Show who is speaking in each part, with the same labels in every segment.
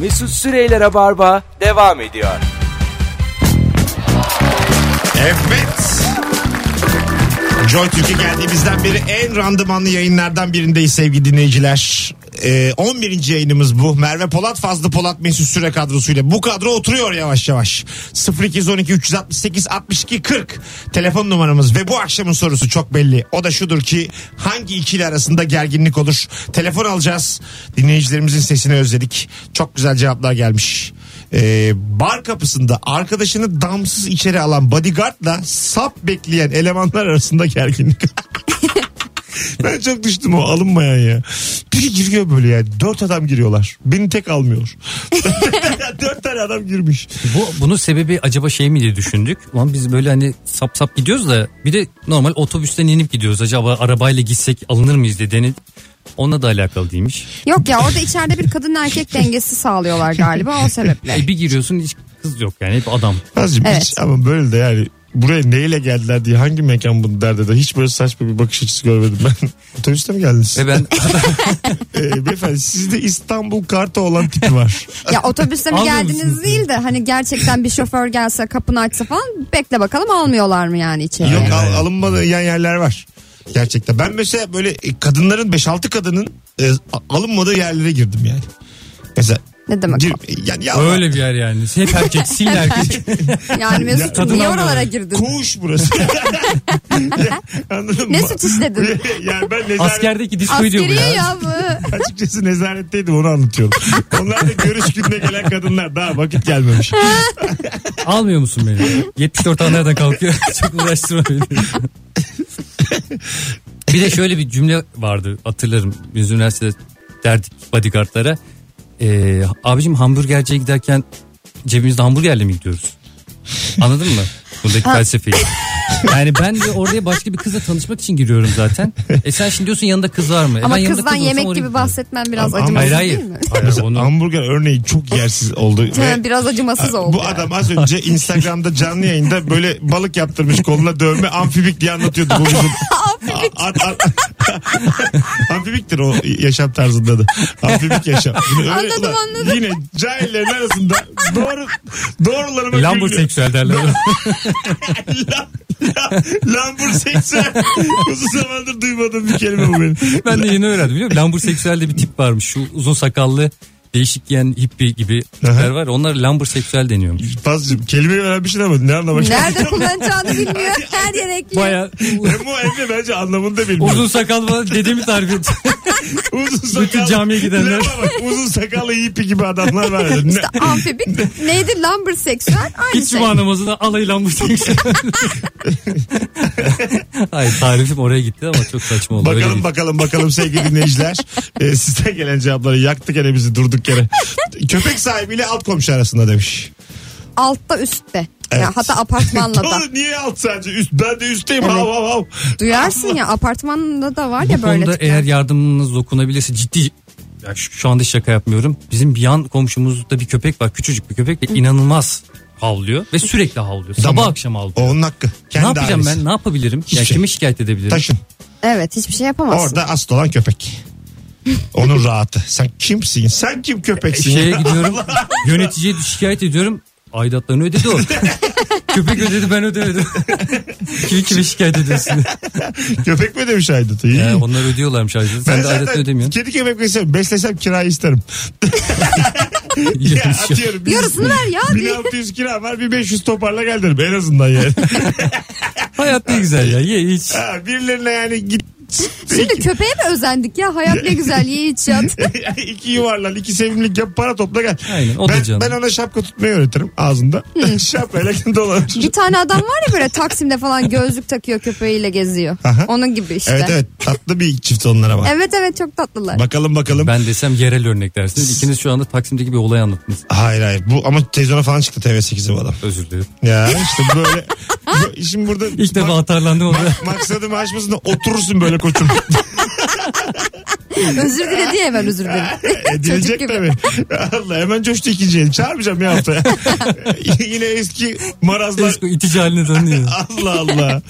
Speaker 1: Mesut Süreyler'e barba devam ediyor.
Speaker 2: Evet. Joy Türkiye geldiğimizden beri en randımanlı yayınlardan birindeyiz sevgili dinleyiciler. Ee, 11. yayınımız bu. Merve Polat, Fazlı Polat, Mesut Süre kadrosuyla. Bu kadro oturuyor yavaş yavaş. 0212 368 62 40 telefon numaramız ve bu akşamın sorusu çok belli. O da şudur ki hangi ikili arasında gerginlik olur? Telefon alacağız. Dinleyicilerimizin sesini özledik. Çok güzel cevaplar gelmiş. Ee, bar kapısında arkadaşını damsız içeri alan bodyguardla sap bekleyen elemanlar arasında gerginlik. ben çok düştüm o alınmayan ya. Biri giriyor böyle ya. Dört adam giriyorlar. Beni tek almıyor. Dört tane adam girmiş.
Speaker 3: Bu bunun sebebi acaba şey mi diye düşündük. Ulan biz böyle hani sap sap gidiyoruz da bir de normal otobüsten inip gidiyoruz. Acaba arabayla gitsek alınır mıyız diye denedi. Onunla da alakalı değilmiş.
Speaker 4: Yok ya orada içeride bir kadın erkek dengesi sağlıyorlar galiba o sebeple.
Speaker 3: E bir giriyorsun hiç kız yok yani hep adam.
Speaker 2: Azıcık
Speaker 4: Evet.
Speaker 2: hiç ama böyle de yani buraya neyle geldiler diye hangi mekan bunu derdi de hiç böyle saçma bir bakış açısı görmedim ben. Otobüste mi geldiniz?
Speaker 3: Ve ben
Speaker 2: Ee, beyefendi sizde İstanbul kartı olan tipi var.
Speaker 4: ya otobüste mi
Speaker 3: Almıyor
Speaker 4: geldiniz
Speaker 3: musunuz?
Speaker 4: değil de hani gerçekten bir şoför gelse kapını açsa falan bekle bakalım almıyorlar mı yani içeri.
Speaker 2: Yok al,
Speaker 3: aynen.
Speaker 2: alınmayan yerler var. Gerçekten. Ben mesela böyle e, kadınların 5-6 kadının e, a- alınmadığı yerlere girdim yani. Mesela
Speaker 4: Ne demek
Speaker 2: gir, yani ya,
Speaker 3: öyle bir yer yani. Hep erkek sil erkek.
Speaker 4: Yani Mesut
Speaker 3: kadın
Speaker 4: niye
Speaker 3: almıyorlar.
Speaker 4: oralara girdin?
Speaker 2: Koğuş burası. ya, anladın
Speaker 4: Ne
Speaker 2: mı?
Speaker 4: suç işledin?
Speaker 2: yani ben nezaret,
Speaker 3: Askerdeki diskoyu diyor bu ya.
Speaker 4: Askeriye ya bu.
Speaker 2: açıkçası nezaretteydim onu anlatıyorum. Onlar da görüş gününe gelen kadınlar daha vakit gelmemiş.
Speaker 3: Almıyor musun beni? 74 an nereden kalkıyor? Çok uğraştırma beni. bir de şöyle bir cümle vardı hatırlarım. Biz üniversitede derdik bodyguardlara. Ee, abicim hamburgerciye giderken cebimizde hamburgerle mi gidiyoruz? Anladın mı? Buradaki felsefeyi. Yani ben de oraya başka bir kızla tanışmak için giriyorum zaten. E sen şimdi diyorsun yanında kız var mı? E
Speaker 4: Ama
Speaker 3: ben yanında kız
Speaker 4: kızdan
Speaker 3: olsam
Speaker 4: yemek
Speaker 3: oraya
Speaker 4: gibi
Speaker 3: gidiyorum.
Speaker 4: bahsetmen biraz
Speaker 2: Ama-
Speaker 4: acımasız
Speaker 3: Hayır hayır.
Speaker 4: değil mi?
Speaker 3: hayır
Speaker 2: Mesela
Speaker 3: onu...
Speaker 2: hamburger örneği çok yersiz oldu. ve-
Speaker 4: Tamam, biraz acımasız oldu.
Speaker 2: Bu adam az önce Instagram'da canlı yayında böyle balık yaptırmış koluna dövme amfibik diye anlatıyordu. Bu bizim. At- at- Amfibiktir o yaşam tarzında da. Amfibik yaşam. Bunu öyle-
Speaker 4: Anladım,
Speaker 2: ulan
Speaker 4: anladım.
Speaker 2: Yine cahillerin arasında doğru doğrularıma gülüyor.
Speaker 3: Lambur seksüel derler.
Speaker 2: Lam- Lambur seksüel. Uzun zamandır duymadığım bir kelime bu benim.
Speaker 3: Ben de yeni öğrendim biliyor musun? Lambur seksüelde bir tip varmış. Şu uzun sakallı değişik giyen hippi gibi tipler var. Onlar lambur seksüel deniyormuş.
Speaker 2: Fazlacığım kelimeyi öğrenmişsin ama ne anlamak
Speaker 4: Nerede kullanacağını bilmiyor. Her yere ekliyor.
Speaker 3: Baya
Speaker 2: Hem o hem de bence anlamını da bilmiyor.
Speaker 3: uzun sakal falan dedemi tarif et.
Speaker 2: Uzun sakallı.
Speaker 3: Bütün camiye gidenler.
Speaker 2: Lafa bak, uzun sakallı hippie gibi adamlar var. Ne-
Speaker 4: Amfibik neydi? Lumberseksüel aynı
Speaker 3: Hiç
Speaker 4: şey.
Speaker 3: cuma namazına alay lambur seksüel. Hayır tarifim oraya gitti ama çok saçma oldu. Öyle
Speaker 2: Bakalım
Speaker 3: değil.
Speaker 2: bakalım bakalım sevgili dinleyiciler. Ee, sizden gelen cevapları yaktık gene bizi durduk yere. Köpek sahibiyle alt komşu arasında demiş.
Speaker 4: Altta üstte.
Speaker 2: Evet.
Speaker 4: Ya hatta apartmanla da.
Speaker 2: Doğru niye alt sadece üst ben de üstteyim
Speaker 4: Evet.
Speaker 2: hav hav hav.
Speaker 4: Duyarsın ya apartmanda da var ya
Speaker 3: Bu
Speaker 4: böyle
Speaker 3: konuda
Speaker 4: tipler.
Speaker 3: eğer yardımınız dokunabilirse ciddi ya şu, şu anda şaka yapmıyorum. Bizim bir yan komşumuzda bir köpek var. Küçücük bir köpek ve inanılmaz havlıyor ve sürekli havlıyor. Sabah
Speaker 2: Tamam.
Speaker 3: akşam havlıyor.
Speaker 2: O onun hakkı. Kendi
Speaker 3: ne yapacağım
Speaker 2: ailesi.
Speaker 3: ben? Ne yapabilirim?
Speaker 2: Hiçbir
Speaker 3: ya
Speaker 2: şey.
Speaker 3: kime şikayet edebilirim?
Speaker 2: Taşın.
Speaker 4: Evet hiçbir şey yapamazsın.
Speaker 2: Orada asıl olan köpek. Onun rahatı. Sen kimsin? Sen kim köpeksin?
Speaker 3: Şeye gidiyorum. yöneticiye şikayet ediyorum. Aidatlarını ödedi o. Köpek ödedi ben ödemedim. Kimi kime şikayet ediyorsun?
Speaker 2: köpek mi demiş Aydın? İyi.
Speaker 3: Ya onlar ödüyorlarmış aidatı. Sen de aidatını ödemiyorsun.
Speaker 2: kedi köpek beslesem, beslesem kirayı isterim. Ya
Speaker 3: İğrenç ya.
Speaker 2: atıyorum. bir-
Speaker 4: Yarısını ver ya. diye.
Speaker 2: 1600 kira var bir 500 toparla gel derim en azından yani.
Speaker 3: Hayat ne güzel ya. Ye iç.
Speaker 2: Ha, birilerine yani git
Speaker 4: Şimdi köpeğe mi özendik ya? Hayat ne güzel ye iç yat.
Speaker 2: iki yuvarlan iki sevimlik yap para topla gel.
Speaker 3: Aynen, o da
Speaker 2: ben,
Speaker 3: canım.
Speaker 2: ben ona şapka tutmayı öğretirim ağzında. Şapkayla dolanır.
Speaker 4: Bir tane adam var ya böyle Taksim'de falan gözlük takıyor köpeğiyle geziyor.
Speaker 2: Aha.
Speaker 4: Onun gibi işte.
Speaker 2: Evet evet tatlı bir çift onlara bak.
Speaker 4: Evet evet çok tatlılar.
Speaker 2: Bakalım bakalım.
Speaker 3: Ben desem yerel örnek dersiniz. İkiniz şu anda Taksim'deki bir olay anlattınız.
Speaker 2: Hayır hayır bu ama televizyona falan çıktı TV8'e bu adam.
Speaker 3: Özür dilerim.
Speaker 2: Ya işte böyle. bu- şimdi burada.
Speaker 3: İlk defa
Speaker 2: Bak-
Speaker 3: atarlandım ama.
Speaker 2: Maksadım aşmasında oturursun böyle koçum.
Speaker 4: özür dile diye hemen özür diledi. Çocuk
Speaker 2: E, Edilecek
Speaker 4: gibi.
Speaker 2: tabii. Allah hemen coştu ikinci el. Çağırmayacağım ya haftaya. E, Yine eski marazlar.
Speaker 3: Esko itici haline dönüyor.
Speaker 2: Allah Allah.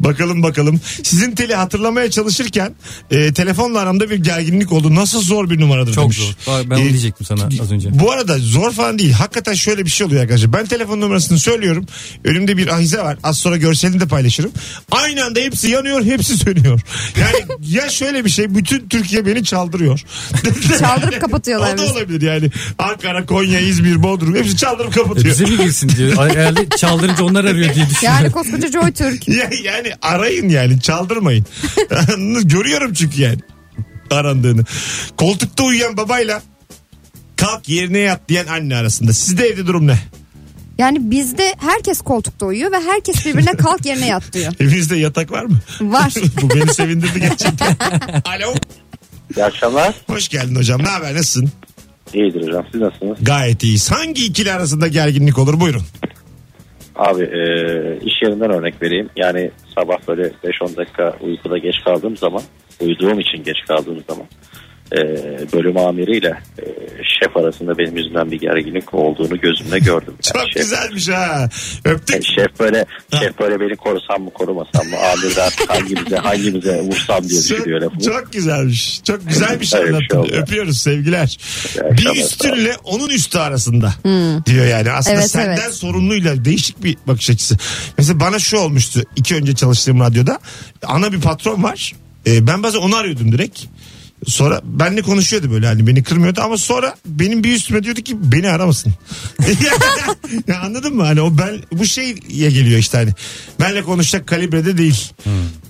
Speaker 2: bakalım bakalım. Sizin teli hatırlamaya çalışırken e, telefonla aramda bir gerginlik oldu. Nasıl zor bir numaradır
Speaker 3: Çok
Speaker 2: demiş.
Speaker 3: zor. Bak, Ben onu
Speaker 2: E,
Speaker 3: diyecektim sana az önce.
Speaker 2: Bu arada zor falan değil. Hakikaten şöyle bir şey oluyor arkadaşlar. Ben telefon numarasını söylüyorum. Önümde bir ahize var. Az sonra görselini de paylaşırım. Aynı anda hepsi yanıyor, hepsi sönüyor. Yani ya şöyle bir şey bütün Türkiye beni çaldırıyor.
Speaker 4: Çaldırıp kapatıyorlar
Speaker 2: O da
Speaker 4: bizi.
Speaker 2: olabilir yani. Ankara, Konya, İzmir, Bodrum hepsi çaldırıp
Speaker 3: E,
Speaker 2: kapatıyor.
Speaker 3: bize mi girsin diyor. Ay, Herhalde çaldırınca onlar arıyor diye düşünüyorum.
Speaker 4: Yani koskoca Joy Türk.
Speaker 2: Ya- yani arayın yani çaldırmayın. Görüyorum çünkü yani arandığını. Koltukta uyuyan babayla kalk yerine yat diyen anne arasında. Sizde evde durum ne?
Speaker 4: Yani bizde herkes koltukta uyuyor ve herkes birbirine kalk yerine yat diyor.
Speaker 2: Evinizde yatak var mı?
Speaker 4: Var.
Speaker 2: Bu beni sevindirdi gerçekten. Alo.
Speaker 5: İyi akşamlar.
Speaker 2: Hoş geldin hocam. Ne haber? Nasılsın?
Speaker 5: İyidir hocam siz nasılsınız?
Speaker 2: Gayet iyiyiz. Hangi ikili arasında gerginlik olur? Buyurun.
Speaker 5: Abi e, iş yerinden örnek vereyim. Yani sabah böyle 5-10 dakika uykuda geç kaldığım zaman uyuduğum için geç kaldığım zaman e, bölüm amiriyle e, şef arasında benim yüzümden bir gerginlik olduğunu gözümle gördüm.
Speaker 2: Çok
Speaker 5: şef, e,
Speaker 2: güzelmiş ha. Öptük.
Speaker 5: şef böyle
Speaker 2: Ha.
Speaker 5: şef böyle beni korusam mı korumasam mı amir de artık hangimize hangimize vursam diye
Speaker 2: Çok,
Speaker 5: düşünüyor lafı.
Speaker 2: çok güzelmiş. Çok güzel bir şey
Speaker 5: Öyle bir şey
Speaker 2: anlattın.
Speaker 5: oldu.
Speaker 2: Öpüyoruz sevgiler.
Speaker 5: akşamlar,
Speaker 2: Bir üstünle onun üstü arasında diyor yani. Aslında
Speaker 4: Hmm. Evet,
Speaker 2: senden
Speaker 4: evet.
Speaker 2: sorumluyla değişik bir bakış açısı. Mesela bana şu olmuştu. iki önce çalıştığım radyoda. Ana bir patron var. Ee, ben bazen onu arıyordum direkt. Sonra benle konuşuyordu böyle hani beni kırmıyordu ama sonra benim bir üstüme diyordu ki beni aramasın. ya anladın mı? Hani o ben bu şeye geliyor işte hani. Benle konuşacak kalibrede değil.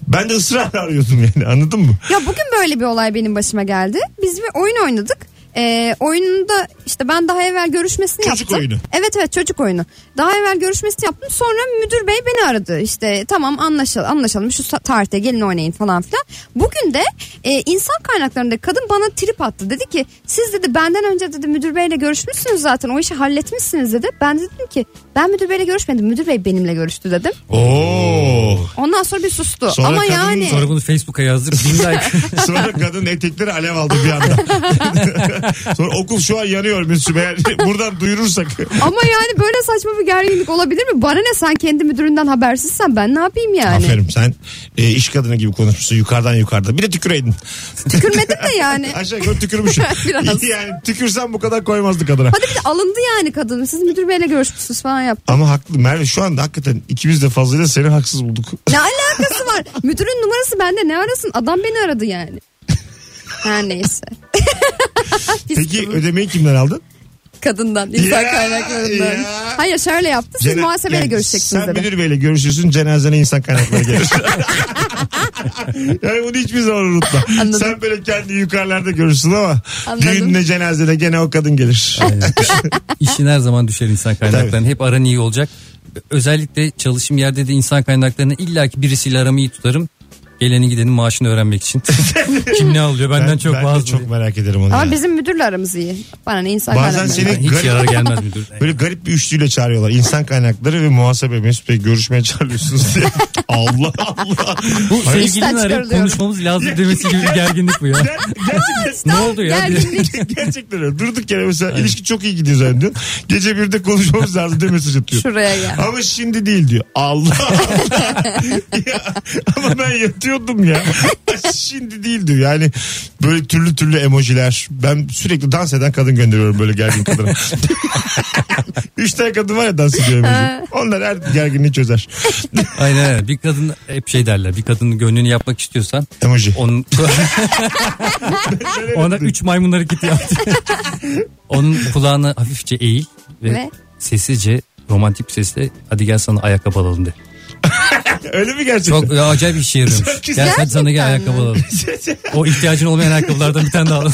Speaker 2: Ben de ısrar arıyordum yani anladın mı?
Speaker 4: Ya bugün böyle bir olay benim başıma geldi. Biz bir oyun oynadık. Ee, oyununda işte ben daha evvel görüşmesini
Speaker 2: Çocuk
Speaker 4: yaptım.
Speaker 2: oyunu.
Speaker 4: Evet evet çocuk oyunu. Daha evvel görüşmesini yaptım. Sonra müdür bey beni aradı. İşte tamam anlaşalım, anlaşalım şu sa- tarihte gelin oynayın falan filan. Bugün de e, insan kaynaklarında kadın bana trip attı. Dedi ki siz dedi benden önce dedi müdür beyle görüşmüşsünüz zaten o işi halletmişsiniz dedi. Ben de dedim ki ben müdür beyle görüşmedim müdür bey benimle görüştü dedim.
Speaker 2: Oo.
Speaker 4: Ondan sonra bir sustu.
Speaker 2: Sonra
Speaker 4: Ama
Speaker 2: kadın-
Speaker 4: yani
Speaker 3: Sonra bunu Facebook'a yazdık. Bin like.
Speaker 2: Sonra kadın etekleri alev aldı bir anda. Sonra okul şu an yanıyor Mesut Bey. Buradan duyurursak.
Speaker 4: Ama yani böyle saçma bir gerginlik olabilir mi? Bana ne sen kendi müdüründen habersizsen ben ne yapayım yani?
Speaker 2: Aferin sen e, iş kadını gibi konuşmuşsun yukarıdan yukarıda. Bir de tüküreydin.
Speaker 4: Tükürmedim de yani.
Speaker 2: Aşağı yukarı tükürmüşüm.
Speaker 4: Biraz.
Speaker 2: Yani tükürsen bu kadar koymazdı kadına.
Speaker 4: Hadi bir de alındı yani kadın. Siz müdür beyle görüşmüşsünüz falan yap.
Speaker 2: Ama haklı Merve şu anda hakikaten ikimiz de fazlıyla seni haksız bulduk.
Speaker 4: Ne alakası var? Müdürün numarası bende ne arasın? Adam beni aradı yani. Her neyse. Pis
Speaker 2: Peki
Speaker 4: kadın.
Speaker 2: ödemeyi kimden aldın?
Speaker 4: kadından, insan
Speaker 2: Ya,
Speaker 4: kaynaklarından.
Speaker 2: ya.
Speaker 4: Hayır şöyle yaptı. Siz
Speaker 2: Cena-
Speaker 4: muhasebeyle
Speaker 2: yani
Speaker 4: görüşeceksiniz
Speaker 2: Sen
Speaker 4: dedi.
Speaker 2: müdür beyle görüşürsün cenazene insan kaynakları gelir. yani bunu hiçbir zaman unutma.
Speaker 4: Anladım.
Speaker 2: Sen böyle kendi yukarılarda görürsün ama
Speaker 4: Anladım.
Speaker 2: düğününe cenazede gene o kadın gelir.
Speaker 3: İşin her zaman düşer insan kaynaklarına. Hep aran iyi olacak. Özellikle çalışım yerde de insan kaynaklarına illaki birisiyle aramı iyi tutarım. Geleni gidenin maaşını öğrenmek için. Kim ne alıyor benden çok
Speaker 2: ben de
Speaker 3: bazı.
Speaker 2: çok merak ederim onu. ya.
Speaker 4: Ama bizim müdürle aramız iyi. Bana ne insan
Speaker 2: Bazen
Speaker 4: kaynakları.
Speaker 2: seni-
Speaker 3: Hiç
Speaker 2: Garip-
Speaker 3: yarar gelmez müdür.
Speaker 2: Böyle garip bir üçlüyle çağırıyorlar. İnsan kaynakları ve muhasebe Mesut Bey görüşmeye çağırıyorsunuz diye. Allah Allah.
Speaker 3: Bu
Speaker 2: Hayır.
Speaker 4: İşten
Speaker 3: sevgilinin arayıp
Speaker 4: çıkarılıyorum.
Speaker 3: konuşmamız lazım demesi gibi bir gerginlik bu ya.
Speaker 2: Ger- gerçekten
Speaker 3: ne oldu ya?
Speaker 4: Gerginlik.
Speaker 2: Gerçekten öyle. Durduk yere mesela ilişki çok iyi gidiyor zannediyorsun. Gece birde konuşmamız lazım diye mesaj atıyor.
Speaker 4: Şuraya gel.
Speaker 2: Ama şimdi değil diyor. Allah Allah. Ya, ama ben yatıyordum ya. şimdi değil diyor. Yani böyle türlü türlü emojiler. Ben sürekli dans eden kadın gönderiyorum böyle gergin kadına. Üç tane kadın var ya dans ediyor emoji. Onlar her gerginliği çözer.
Speaker 3: Aynen öyle. Bir kadın hep şey derler. Bir kadının gönlünü yapmak istiyorsan
Speaker 2: Emoji.
Speaker 3: onun ona üç maymun hareketi yaptı. onun kulağını hafifçe eğil ve,
Speaker 4: Ve?
Speaker 3: sessizce romantik bir sesle hadi gel sana ayakkabı alalım de.
Speaker 2: Öyle mi gerçekten? şey
Speaker 3: Çok acayip bir işe yarıyormuş.
Speaker 2: Çok
Speaker 3: Gel hadi sana gel
Speaker 4: Gerçekten mi?
Speaker 3: ayakkabı alalım. O ihtiyacın olmayan ayakkabılardan bir tane daha alalım.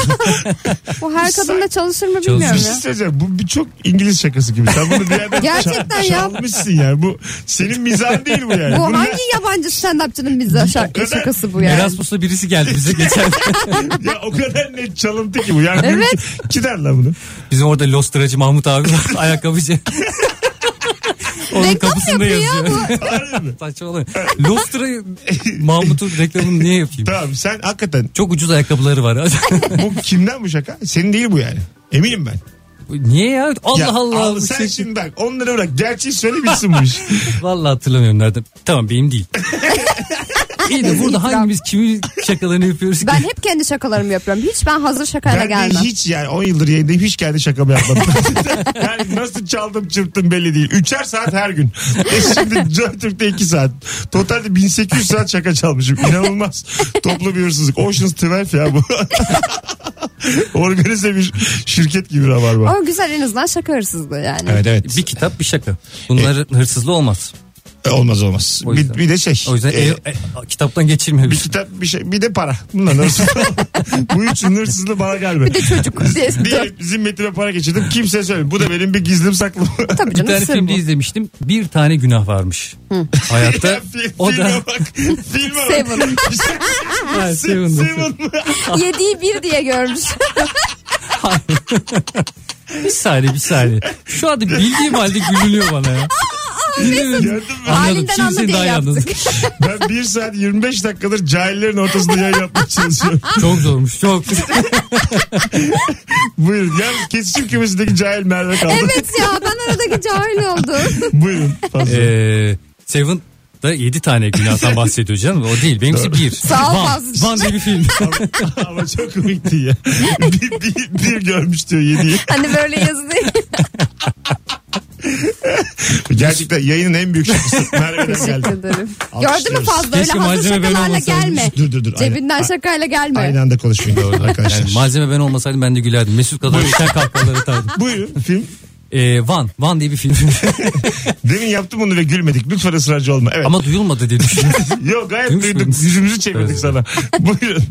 Speaker 4: Bu her kadında çalışır mı
Speaker 3: Çalışır.
Speaker 4: bilmiyorum
Speaker 2: Bir
Speaker 4: ya.
Speaker 2: şey söyleyeceğim. Bu bir çok İngiliz şakası gibi. Sen bunu bir yerden
Speaker 4: Gerçekten
Speaker 2: ça-
Speaker 4: ya.
Speaker 2: çalmışsın yani. Bu senin mizahın değil bu yani.
Speaker 4: Bu
Speaker 2: Bunu-
Speaker 4: hangi yabancı stand-upçının bize şarkı
Speaker 2: kadar-
Speaker 4: şakası bu yani?
Speaker 3: Erasmus'ta birisi geldi bize geçen.
Speaker 2: ya o kadar net çalıntı ki bu. Yani
Speaker 4: Evet.
Speaker 2: Gider lan bunu.
Speaker 3: Bizim orada Lostaracı Mahmut abi var ayakkabıcı. Onun
Speaker 4: Reklam
Speaker 3: kapısında
Speaker 4: yapıyor ya
Speaker 3: yazıyor.
Speaker 2: Harbi mi?
Speaker 3: Saçmalama. Lostra Mahmut'un reklamını niye yapayım?
Speaker 2: Tamam sen hakikaten
Speaker 3: Çok ucuz ayakkabıları var.
Speaker 2: bu kimden bu şaka? Senin değil bu yani. Eminim ben.
Speaker 3: niye ya? Allah
Speaker 2: Ya,
Speaker 3: Allah.
Speaker 2: al,
Speaker 3: Bu
Speaker 2: sen
Speaker 3: şey-
Speaker 2: şimdi bak onları bırak. Gerçeği söylemişsin bu iş.
Speaker 3: Vallahi hatırlamıyorum nerede. Tamam benim değil. İyi de burada
Speaker 4: İtiraf.
Speaker 3: hangimiz kimin şakalarını yapıyoruz ki?
Speaker 4: Ben hep kendi şakalarımı yapıyorum. Hiç ben hazır şakayla
Speaker 2: Ben de
Speaker 4: gelmem.
Speaker 2: hiç yani 10 yıldır yayındayım hiç kendi şakamı yapmadım. yani nasıl çaldım çırptım belli değil. Üçer saat her gün. E şimdi Joy Türk'te 2 saat. Totalde 1800 saat şaka çalmışım. İnanılmaz. Toplu bir hırsızlık. Ocean's 12 ya bu. Organize bir şirket gibi rabarba.
Speaker 4: Ama güzel en azından şaka hırsızlığı yani.
Speaker 2: Evet evet.
Speaker 3: Bir kitap bir şaka. Bunların hırsızlığı olmaz.
Speaker 2: E, Olmaz olmaz.
Speaker 3: O yüzden.
Speaker 2: Bir, bir de şey.
Speaker 3: O yüzden
Speaker 2: e,
Speaker 3: e- e- kitaptan geçirmiyor.
Speaker 2: bir kitap bir şey bir de para. Bunlar hırsızlık. Bu üçünün hırsızlığı bana gelme.
Speaker 4: Bir de çocuk diye.
Speaker 2: Diye zimmetime para geçirdim. Kimse söyle. Bu da benim bir gizlim saklım.
Speaker 4: Tabii
Speaker 3: Bir
Speaker 4: canım
Speaker 3: tane
Speaker 4: sır
Speaker 3: filmde
Speaker 4: bu.
Speaker 3: izlemiştim. Bir tane günah varmış hayatta.
Speaker 2: Fi-
Speaker 3: o
Speaker 2: filme
Speaker 3: da
Speaker 2: bak. Filme bak.
Speaker 4: Seven.
Speaker 3: Ha, şey
Speaker 2: Seven.
Speaker 3: Seven'dı.
Speaker 2: Seven.
Speaker 4: Yediği bir diye görmüş.
Speaker 3: bir saniye bir saniye. Şu anda bildiğim halde gülünüyor bana ya.
Speaker 2: Gördün mü?
Speaker 3: Anladım.
Speaker 4: Halinden
Speaker 3: Kimse
Speaker 4: anla diye
Speaker 3: daha iyi anladı.
Speaker 4: yaptık.
Speaker 2: Ben 1 saat 25 dakikadır cahillerin ortasında yayın yapmaya çalışıyorum.
Speaker 3: Çok zormuş çok.
Speaker 2: Buyurun. Yani kesişim kümesindeki cahil Merve kaldı.
Speaker 4: evet ya ben aradaki cahil oldum.
Speaker 2: Buyurun. Fazla.
Speaker 3: ee, Seven da 7 tane günahtan bahsediyor canım. O değil. Benimkisi bir.
Speaker 4: Sağ ol fazla.
Speaker 3: Van diye bir film.
Speaker 2: Ama çok komikti ya. bir, bir, bir görmüş diyor yediği.
Speaker 4: Hani böyle yazılıyor.
Speaker 2: Gerçekten yayının en büyük şakası. Merve'den
Speaker 4: Teşekkür
Speaker 2: geldi.
Speaker 4: ederim. Gördün
Speaker 2: Alkışlıyoruz.
Speaker 4: mü fazla öyle
Speaker 3: Keşke
Speaker 4: hazır
Speaker 3: malzeme böyle
Speaker 4: şakalarla
Speaker 3: olmasaydı.
Speaker 4: gelme.
Speaker 2: Dur dur dur.
Speaker 4: Cebinden
Speaker 2: Aynı-
Speaker 4: şakayla gelme.
Speaker 2: Aynı anda konuşmayın arkadaşlar.
Speaker 3: Yani malzeme ben olmasaydım ben de gülerdim. Mesut kadar işten kalkanları tardım.
Speaker 2: Buyurun film.
Speaker 3: Ee, Van. Van diye bir film.
Speaker 2: Demin yaptım bunu ve gülmedik. Lütfen ısrarcı olma. Evet.
Speaker 3: Ama duyulmadı diye düşünüyorum.
Speaker 2: Yok gayet
Speaker 3: Duymuş
Speaker 2: duyduk.
Speaker 3: muydunuz?
Speaker 2: Yüzümüzü çevirdik
Speaker 3: Evet.
Speaker 2: sana. Buyurun.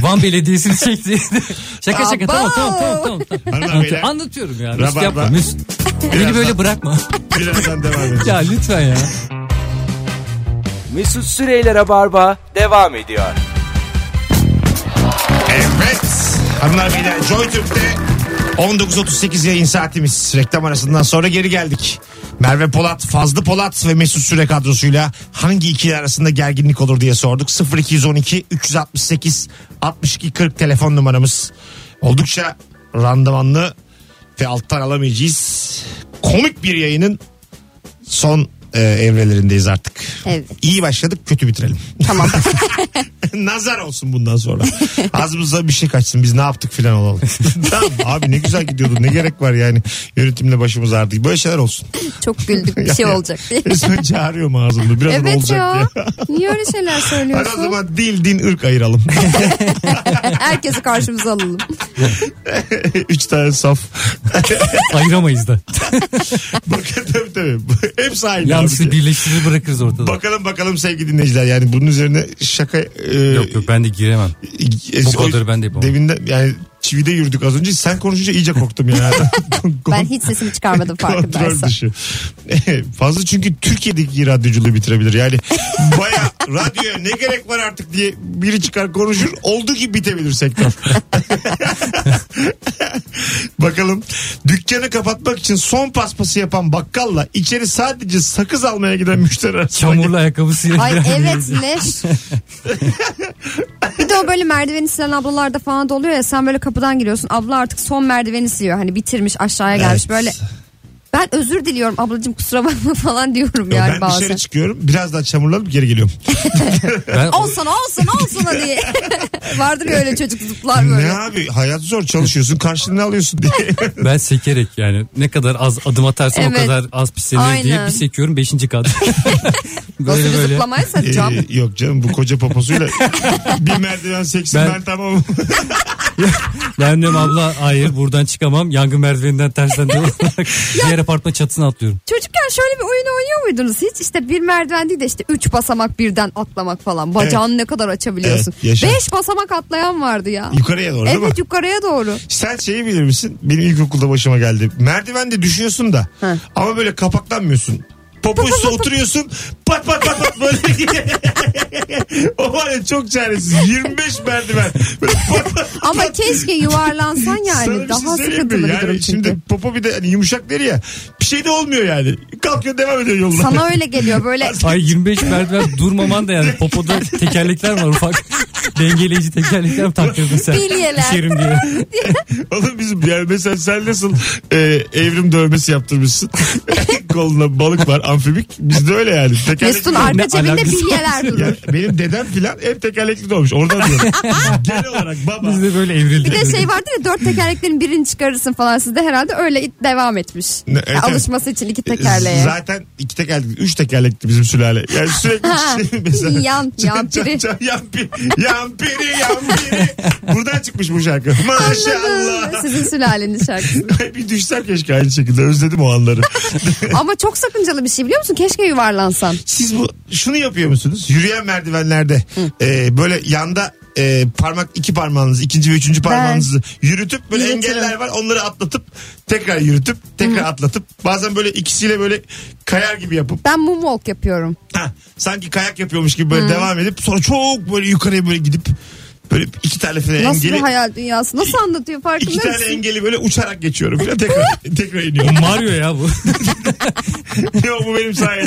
Speaker 3: Van Belediyesi'ni çekti. şaka şaka tamam tamam tamam. tamam.
Speaker 2: Hanımlar, beyler.
Speaker 3: Anlatıyorum, anlatıyorum ya.
Speaker 2: Rabarba.
Speaker 3: Mesut yapma. Mesut. Beni böyle bırakma.
Speaker 2: Birazdan devam edeceğiz.
Speaker 3: ya lütfen ya.
Speaker 1: Mesut Süreyler'e barba devam ediyor.
Speaker 2: Evet. Hanımlar beyler Joy Türk'te 19.38 yayın saatimiz. Reklam arasından sonra geri geldik. Merve Polat, Fazlı Polat ve Mesut Süre kadrosuyla hangi ikili arasında gerginlik olur diye sorduk. 0212 368 62 40 telefon numaramız. Oldukça randımanlı ve alttan alamayacağız. Komik bir yayının son e, evrelerindeyiz artık.
Speaker 4: Evet.
Speaker 2: İyi başladık kötü bitirelim.
Speaker 4: Tamam.
Speaker 2: Nazar olsun bundan sonra. Ağzımıza bir şey kaçsın biz ne yaptık filan olalım. tamam abi ne güzel gidiyordu ne gerek var yani yönetimle başımız ağrıdı. Böyle şeyler olsun.
Speaker 4: Çok güldük bir şey olacak diye.
Speaker 2: Resmen çağırıyor mu ağzımda biraz
Speaker 4: Evet
Speaker 2: olacak
Speaker 4: ya.
Speaker 2: diye.
Speaker 4: Niye öyle şeyler
Speaker 2: Hadi o
Speaker 4: söylüyorsun?
Speaker 2: zaman dil din ırk ayıralım.
Speaker 4: Herkesi karşımıza alalım.
Speaker 2: Üç tane saf.
Speaker 3: Ayıramayız da.
Speaker 2: Bakın tabii tabii. Hepsi aynı.
Speaker 3: Yalnız
Speaker 2: halbuki.
Speaker 3: birleştirir bırakırız ortada.
Speaker 2: Bakalım bakalım sevgili dinleyiciler yani bunun üzerine şaka... e,
Speaker 3: Yok yok ben de giremem.
Speaker 2: e,
Speaker 3: Bu kadarı ben de yapamam.
Speaker 2: Deminden yani çivide yürüdük az önce sen konuşunca iyice korktum yani.
Speaker 4: Ben hiç sesimi çıkarmadım
Speaker 2: Kontrol
Speaker 4: farkındaysan.
Speaker 2: dışı. Fazla çünkü Türkiye'deki radyoculuğu bitirebilir. Yani baya radyoya ne gerek var artık diye biri çıkar konuşur. Olduğu gibi bitebilir sektör. Bakalım dükkanı kapatmak için son paspası yapan bakkalla içeri sadece sakız almaya giden müşteri arasında.
Speaker 3: Çamurlu ayakkabısıyla.
Speaker 4: Ay
Speaker 3: girer
Speaker 4: evet
Speaker 3: miyiz?
Speaker 4: leş. bir de o böyle merdiveni silen ablalarda falan da oluyor ya sen böyle kapıdan giriyorsun. Abla artık son merdiveni siliyor. Hani bitirmiş aşağıya gelmiş
Speaker 2: Evet.
Speaker 4: böyle. Ben özür diliyorum ablacığım kusura bakma falan diyorum
Speaker 2: Yo,
Speaker 4: yani
Speaker 2: ben
Speaker 4: bazen.
Speaker 2: dışarı çıkıyorum biraz daha çamurlanıp geri geliyorum.
Speaker 3: Ben
Speaker 4: Olsana olsana olsana diye. Vardır ya öyle çocuk zıplar
Speaker 2: ne
Speaker 4: böyle.
Speaker 2: abi hayat zor çalışıyorsun karşılığını alıyorsun diye.
Speaker 3: Ben sekerek yani ne kadar az adım atarsan
Speaker 4: Evet.
Speaker 3: o kadar az pislenir diye
Speaker 4: Aynen.
Speaker 3: bir sekiyorum 5. kat.
Speaker 4: Nasıl
Speaker 3: böyle
Speaker 4: bir
Speaker 3: böyle.
Speaker 4: zıplamaysa cam.
Speaker 2: Ee, yok canım bu koca poposuyla bir merdiven seksin ben,
Speaker 3: Ben-
Speaker 2: tamam.
Speaker 3: Ben diyorum abla hayır buradan çıkamam yangın merdiveninden tersten de olarak diğer apartman çatısına atlıyorum.
Speaker 4: Çocukken şöyle bir oyun oynuyor muydunuz hiç? İşte bir merdiven değil de işte üç basamak birden atlamak falan. Bacağını ne kadar açabiliyorsun?
Speaker 2: Evet, yaşa.
Speaker 4: Beş basamak atlayan vardı ya.
Speaker 2: Yukarıya doğru değil mi?
Speaker 4: Evet yukarıya doğru.
Speaker 2: Sen şeyi bilir misin? Benim ilkokulda başıma geldi. Merdivende düşüyorsun da
Speaker 4: He.
Speaker 2: ama böyle kapaklanmıyorsun. Popo üstüne oturuyorsun pat pat pat pat böyle. o var ya çok çaresiz. 25 merdiven. Böyle pat pat.
Speaker 4: Ama keşke yuvarlansan ya
Speaker 2: Sana
Speaker 4: yani.
Speaker 2: bir şey
Speaker 4: Daha
Speaker 2: söyleyeyim mi?
Speaker 4: sıkıntılı bir durum
Speaker 2: yani
Speaker 4: çünkü.
Speaker 2: Şimdi popo bir de hani yumuşak deri ya. Bir şey de olmuyor yani. Kalkıyor devam ediyor yoluna.
Speaker 4: Sana öyle geliyor böyle
Speaker 3: Ay 25 merdiven durmaman da yani popoda tekerlekler var ufak. Dengeleyici tekerlekler mi takıyorsun sen?
Speaker 4: Bilyeler.
Speaker 3: İşerim diye.
Speaker 2: Oğlum bizim yani mesela sen nasıl e, evrim dövmesi yaptırmışsın. Koluna balık var amfibik. Bizde öyle yani. Tekerlek-
Speaker 4: Mesut'un arka
Speaker 3: Ne
Speaker 4: cebinde
Speaker 3: alakası
Speaker 2: Ya
Speaker 4: bilyeler durur.
Speaker 2: benim dedem filan hep tekerlekli doğmuş. Oradan diyorum. Genel olarak baba.
Speaker 3: Biz de böyle evrildik.
Speaker 4: Bir de şey vardır ya dört tekerleklerin birini çıkarırsın falan sizde herhalde öyle it- devam etmiş.
Speaker 2: Ne, evet,
Speaker 4: Ya,
Speaker 2: evet.
Speaker 4: alışması için iki tekerleğe.
Speaker 2: E, Zaten iki tekerlekli, üç tekerlekli bizim sülale. Yani sürekli şey mesela.
Speaker 4: Yan- yan piri.
Speaker 2: Can, yan piri. Yan piri, yan piri. Buradan çıkmış bu şarkı. Maşallah.
Speaker 4: Anladım. Sizin sülalenin şarkısı.
Speaker 2: Ay, bir düşsem keşke aynı şekilde. Özledim o anları.
Speaker 4: Ama çok sakıncalı bir şey biliyor musun? Keşke yuvarlansan.
Speaker 2: Siz bu şunu yapıyor musunuz? Yürüyen merdivenlerde e, böyle yanda e, parmak iki parmağınızı ikinci ve üçüncü parmağınızı yürütüp böyle
Speaker 4: Yürütürüm.
Speaker 2: engeller var onları atlatıp tekrar yürütüp tekrar atlatıp bazen böyle ikisiyle böyle kayar gibi yapıp
Speaker 4: Ben moonwalk yapıyorum.
Speaker 2: Ha, sanki kayak yapıyormuş gibi böyle devam edip sonra çok böyle yukarıya böyle gidip böyle iki tane falan
Speaker 4: Nasıl
Speaker 2: engeli
Speaker 4: bir hayal dünyası? Nasıl anlatıyor
Speaker 2: iki
Speaker 4: farkında
Speaker 2: E, tane
Speaker 4: mısın?
Speaker 2: engeli böyle uçarak geçiyorum. Falan. Tekrar, tekrar iniyorum.
Speaker 3: Mario ya bu.
Speaker 2: Yok bu benim sayem.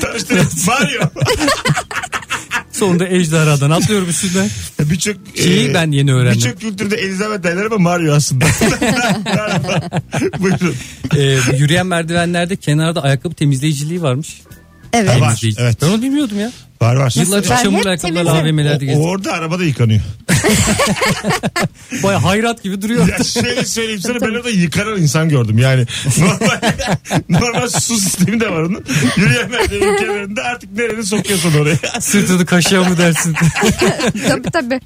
Speaker 2: Tanıştırın. Mario.
Speaker 3: Sonunda ejderhadan atlıyorum üstünden.
Speaker 2: Birçok e,
Speaker 3: Şeyi ben yeni öğrendim.
Speaker 2: Birçok kültürde Elizabeth derler ama Mario aslında. Buyurun.
Speaker 3: Ee, bu yürüyen merdivenlerde kenarda ayakkabı temizleyiciliği varmış.
Speaker 4: Evet.
Speaker 2: Var,
Speaker 3: Temizleyici.
Speaker 2: evet.
Speaker 3: Ben onu bilmiyordum ya.
Speaker 2: Var var.
Speaker 3: Yıllarca
Speaker 4: Ben hep
Speaker 3: çamur ayakkabılarla
Speaker 4: temizim.
Speaker 3: AVM'lerde
Speaker 2: O,
Speaker 3: gezdim.
Speaker 2: orada arabada yıkanıyor.
Speaker 3: Baya hayrat gibi duruyor.
Speaker 2: Ya şöyle söyleyeyim sana ben orada yıkanan insan gördüm yani. Normal, normal su sistemi de var onun. Yürüyen merdivenin kenarında artık nereni sokuyorsun oraya.
Speaker 3: Sırtını kaşıya mı dersin?
Speaker 4: tabii tabii.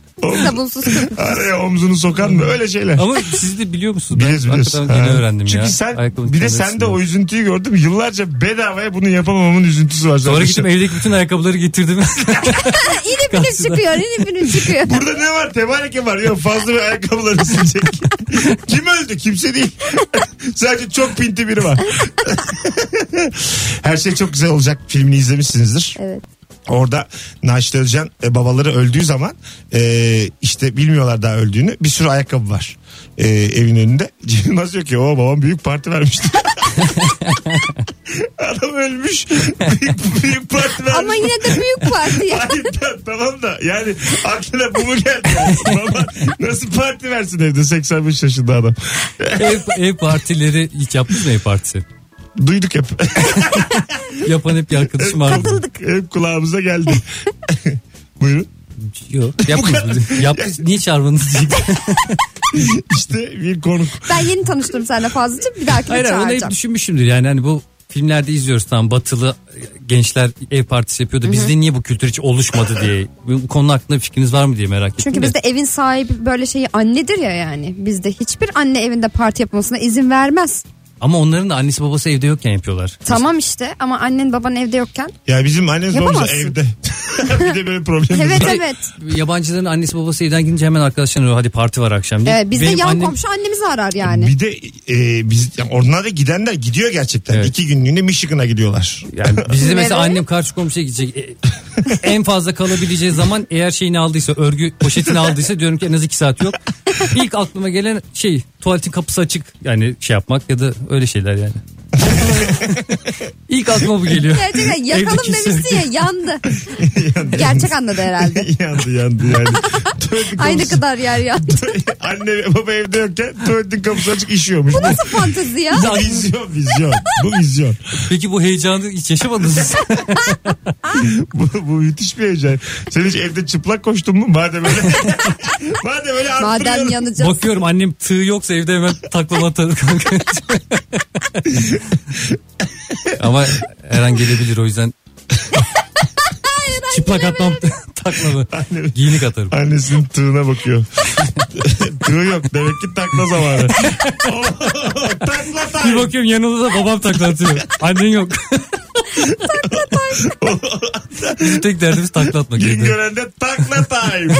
Speaker 4: Sabunsuz kız.
Speaker 2: Araya omzunu sokan mı öyle şeyler.
Speaker 3: Ama siz de biliyor musunuz?
Speaker 2: Biliriz
Speaker 3: ben
Speaker 2: biliriz.
Speaker 3: hakikaten
Speaker 2: Ha.
Speaker 3: yeni öğrendim
Speaker 2: Çünkü
Speaker 3: ya.
Speaker 2: sen
Speaker 3: Ayakkabının
Speaker 2: bir de
Speaker 3: kenarısında.
Speaker 2: sen de o üzüntüyü gördüm. Yıllarca bedavaya bunu yapamamamın üzüntüsü var.
Speaker 3: Sonra
Speaker 2: zaten.
Speaker 3: gittim evdeki bütün ayakkabıları getirdim.
Speaker 4: İnip inip çıkıyor, inip inip çıkıyor.
Speaker 2: Burada ne var? Tebareke var. Yok fazla bir ayakkabıları silecek. Kim öldü? Kimse değil. Sadece çok pinti biri var. Her şey çok güzel olacak. Filmini izlemişsinizdir.
Speaker 4: Evet.
Speaker 2: Orada Naşit Özcan e, babaları öldüğü zaman e, işte bilmiyorlar daha öldüğünü. Bir sürü ayakkabı var e, evin önünde. Yılmaz diyor ki o babam büyük parti vermişti. Adam ölmüş. Büyük, büyük parti vermiş.
Speaker 4: Ama yine de büyük parti ya.
Speaker 2: Hayır ta- tamam da yani aklına bu mu geldi? Yani? Baba nasıl parti versin evde 85 yaşında adam.
Speaker 3: ev, ev partileri hiç yaptınız mı ev partisi?
Speaker 2: Duyduk hep.
Speaker 3: Yapan hep bir arkadaşım vardı.
Speaker 4: Katıldık.
Speaker 2: hep kulağımıza geldi. Buyurun.
Speaker 3: Yok. Yapmadınız. mı? Yaptınız. Niye çağırmadınız diyecektim.
Speaker 2: İşte bir konuk.
Speaker 4: Ben yeni tanıştım seninle fazlaca. Bir dahakine
Speaker 3: Hayır hayır, onu hep
Speaker 4: çağıracağım.
Speaker 3: düşünmüşümdür. Yani hani bu filmlerde izliyoruz tamam batılı e, gençler ev partisi yapıyor da bizde niye bu kültür hiç oluşmadı diye. Bu konu hakkında bir fikriniz var mı diye merak ettim.
Speaker 4: Çünkü
Speaker 3: de.
Speaker 4: bizde evin sahibi böyle şeyi annedir ya yani. Bizde hiçbir anne evinde parti yapmasına izin vermez.
Speaker 3: Ama onların da annesi babası evde yokken yapıyorlar.
Speaker 4: Tamam işte ama annen baban evde yokken.
Speaker 2: Ya bizim annemiz babamız
Speaker 4: Yapamazsın.
Speaker 2: evde. bir de böyle problemimiz
Speaker 4: Evet
Speaker 2: var.
Speaker 4: evet.
Speaker 3: Yabancıların annesi babası evden gidince hemen arkadaşlarına hadi parti var akşam diye.
Speaker 4: Evet, Ee, bizde
Speaker 3: Benim
Speaker 4: yan
Speaker 3: annem-
Speaker 4: komşu annemizi arar yani.
Speaker 2: Bir de e, biz yani onlar da gidenler gidiyor gerçekten.
Speaker 3: Evet.
Speaker 2: İki günlüğüne Michigan'a gidiyorlar.
Speaker 3: Yani bizde mesela
Speaker 4: Nereye?
Speaker 3: annem karşı komşuya gidecek. E, en fazla kalabileceği zaman eğer şeyini aldıysa örgü poşetini aldıysa diyorum ki en az iki saat yok. İlk aklıma gelen şey tuvaletin kapısı açık yani şey yapmak ya da öyle şeyler yani. İlk aklıma bu geliyor.
Speaker 4: Gerçekten yakalım
Speaker 3: Evdeki
Speaker 4: demişti ya yandı. Gerçek anladı herhalde.
Speaker 2: yandı yandı yani. Tuvaletin
Speaker 4: Aynı
Speaker 2: kapısı-
Speaker 4: kadar yer yandı.
Speaker 2: Anne ve baba evde yokken tuvaletin kapısı açık işiyormuş. Bu
Speaker 4: Nasıl fantezi ya?
Speaker 2: vizyon vizyon. Bu vizyon.
Speaker 3: Peki bu heyecanı hiç yaşamadınız mı?
Speaker 2: Bu, bu müthiş bir heyecan. Sen hiç evde çıplak koştun mu? Madem öyle. madem öyle
Speaker 4: Madem
Speaker 2: arttırıyorum.
Speaker 4: yanacağız.
Speaker 3: Bakıyorum annem tığ yoksa evde hemen taklama atarım kanka. Ama Eren gelebilir o yüzden. Çıplak atmam taklama. Giyinik atarım.
Speaker 2: Annesinin tığına bakıyor. Tığı yok. Demek ki takla zamanı. takla
Speaker 3: Bir
Speaker 2: takla.
Speaker 3: bakıyorum yanında da babam takla atıyor. Annen yok. Bizim tek derdimiz takla atmak.
Speaker 2: Gün
Speaker 3: evde.
Speaker 2: görende takla time.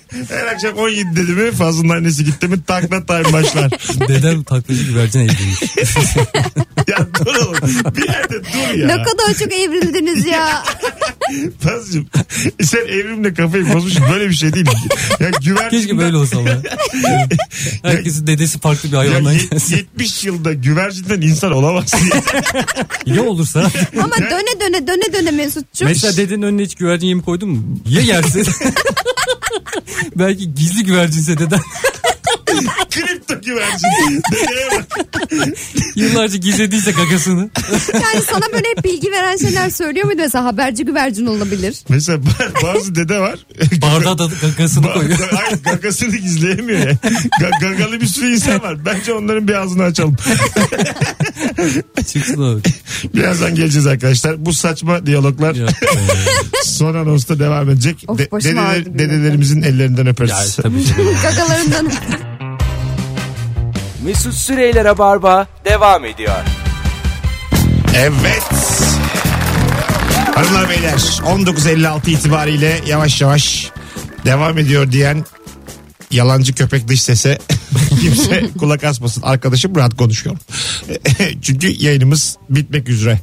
Speaker 2: Her akşam 17 dedi mi Fazlı'nın annesi gitti mi takla time başlar.
Speaker 3: Dedem taklacı güvercin evliymiş.
Speaker 2: ya dur oğlum. Bir yerde dur ya.
Speaker 4: Ne kadar çok evrildiniz ya.
Speaker 2: Fazlacığım sen evrimle kafayı bozmuşsun böyle bir şey değil. Ya güvercinden,
Speaker 3: Keşke böyle olsa ama. Herkesin dedesi farklı bir
Speaker 2: Ya
Speaker 3: hayvandan
Speaker 2: yet-
Speaker 3: gelsin.
Speaker 2: 70 yılda güvercinden insan olamaz.
Speaker 3: Ya olursa.
Speaker 4: Ama döne döne döne döne Mesut'cum.
Speaker 3: Mesela dedenin önüne hiç güvercin yemi koydun mu? Ye yersin. Belki gizli güvercinse deden
Speaker 2: Kripto güvercin. Dedeye bak.
Speaker 3: yıllarca gizlediyse kakasını.
Speaker 4: Yani sana böyle hep bilgi veren şeyler söylüyor muydu? Mesela haberci güvercin olabilir.
Speaker 2: Mesela ba- bazı dede var.
Speaker 3: Bardağa da kakasını koyuyor.
Speaker 2: Ba- Hayır gagasını gizleyemiyor ya. Ga- gagalı bir sürü insan var. Bence onların bir ağzını açalım.
Speaker 3: Çıksın abi.
Speaker 2: Birazdan geleceğiz arkadaşlar. Bu saçma diyaloglar
Speaker 3: Ya,
Speaker 2: son anonsta devam edecek.
Speaker 4: Of,
Speaker 2: De-
Speaker 4: başım
Speaker 2: dedeler-
Speaker 4: ağrıdı bir
Speaker 2: dedelerimizin ellerinden öperiz.
Speaker 3: ya tabii ki.
Speaker 4: Gagalarından.
Speaker 1: Mesut Süreyler'e barba devam ediyor.
Speaker 2: Evet. Hanımlar beyler 19.56 itibariyle yavaş yavaş devam ediyor diyen yalancı köpek dış sese kimse kulak asmasın. Arkadaşım rahat konuşuyor. Çünkü yayınımız bitmek üzere.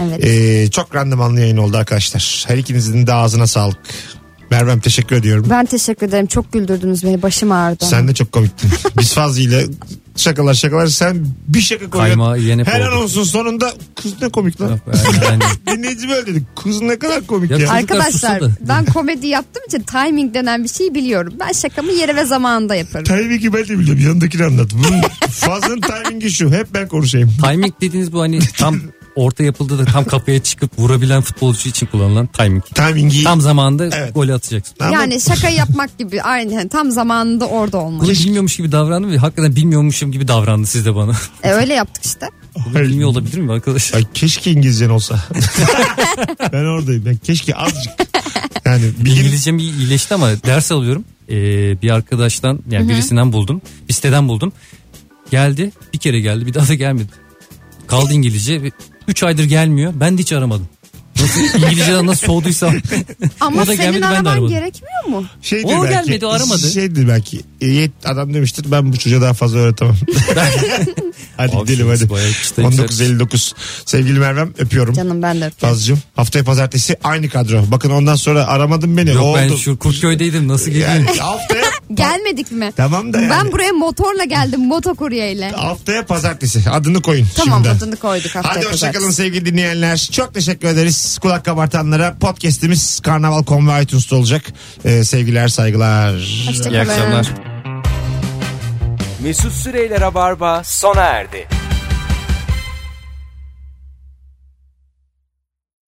Speaker 4: Evet.
Speaker 2: Ee, çok randımanlı yayın oldu arkadaşlar. Her ikinizin de ağzına sağlık. Mervem teşekkür ediyorum.
Speaker 4: Ben teşekkür ederim. Çok güldürdünüz beni. Başım ağrıdı.
Speaker 2: Sen de çok komiktin. Biz Fazlı ile şakalar şakalar sen bir şaka
Speaker 3: Kaymağı
Speaker 2: koyuyorsun.
Speaker 3: yiyen hep
Speaker 2: Her
Speaker 3: oldu.
Speaker 2: anonsun sonunda kız ne komik lan.
Speaker 3: Yani
Speaker 2: Dinleyici böyle dedi. Kız ne kadar komik ya.
Speaker 3: Ya çocuk-
Speaker 4: Arkadaşlar
Speaker 3: Çocuklar susadı.
Speaker 4: ben komedi yaptığım için timing denen bir şeyi biliyorum. Ben şakamı yere ve zamanında yaparım.
Speaker 2: Timingi ben de biliyorum. Yanındakini anlat. Bunun fazlının timingi şu. Hep ben konuşayım.
Speaker 3: timing dediğiniz bu hani tam orta yapıldı da tam kapıya çıkıp vurabilen futbolcu için kullanılan timing.
Speaker 2: Timingi.
Speaker 3: Tam zamanında
Speaker 2: Evet.
Speaker 3: golü atacaksın.
Speaker 2: Ama
Speaker 4: Yani şakayı yapmak gibi aynen tam zamanında orada olmak.
Speaker 3: Bunu bilmiyormuş gibi davrandım ve hakikaten bilmiyormuşum gibi davrandı siz de bana.
Speaker 4: E, öyle yaptık işte.
Speaker 2: Ay,
Speaker 3: Bilmiyor olabilir mi arkadaş?
Speaker 2: ay keşke İngilizcen olsa. ben oradayım. Ben keşke azıcık. Yani bilgi
Speaker 3: İngilizcem iyi- iyileşti ama ders alıyorum. Ee, bir arkadaştan yani birisinden buldum. Bir siteden buldum. Geldi bir kere geldi bir daha da gelmedi. Kaldı İngilizce. 3 aydır gelmiyor. Ben de hiç aramadım. Nasıl İngilizceden nasıl soğuduysam.
Speaker 4: Ama
Speaker 3: O da
Speaker 4: senin
Speaker 3: gelmedi, ben de
Speaker 4: araman
Speaker 3: aramadım.
Speaker 4: gerekmiyor mu?
Speaker 2: şeydir
Speaker 3: O
Speaker 2: şey belki.
Speaker 3: gelmedi, o aramadı.
Speaker 2: Şeydir belki. E, yet- adam demiştir ben bu çocuğa daha fazla öğretemem. hadi
Speaker 3: Abi,
Speaker 2: gidelim hadi.
Speaker 3: bayağı çıta yükselmiş.
Speaker 2: 19.59. Sevgili Mervem öpüyorum.
Speaker 4: Canım ben de öpüyorum.
Speaker 2: Fazlıcığım haftaya pazartesi aynı kadro. Bakın ondan sonra aramadın beni.
Speaker 3: Yok
Speaker 2: o
Speaker 3: ben
Speaker 2: oldu.
Speaker 3: şu Kurtköy'deydim nasıl geleyim?
Speaker 2: Yani haftaya
Speaker 4: Gelmedik mi?
Speaker 2: Tamam da yani.
Speaker 4: Ben buraya motorla geldim motokuryeyle.
Speaker 2: Haftaya pazartesi. Adını koyun
Speaker 4: Tamam
Speaker 2: şimdiden.
Speaker 4: adını koyduk haftaya
Speaker 2: Hadi hoşçakalın
Speaker 4: pazartesi.
Speaker 2: sevgili dinleyenler. Çok teşekkür ederiz kulak kabartanlara. Podcast'imiz Karnaval.com ve iTunes'ta olacak. Ee, sevgiler, saygılar.
Speaker 4: Hoşçakalın.
Speaker 3: İyi akşamlar.
Speaker 1: Mesut Süreyler'e barba sona erdi.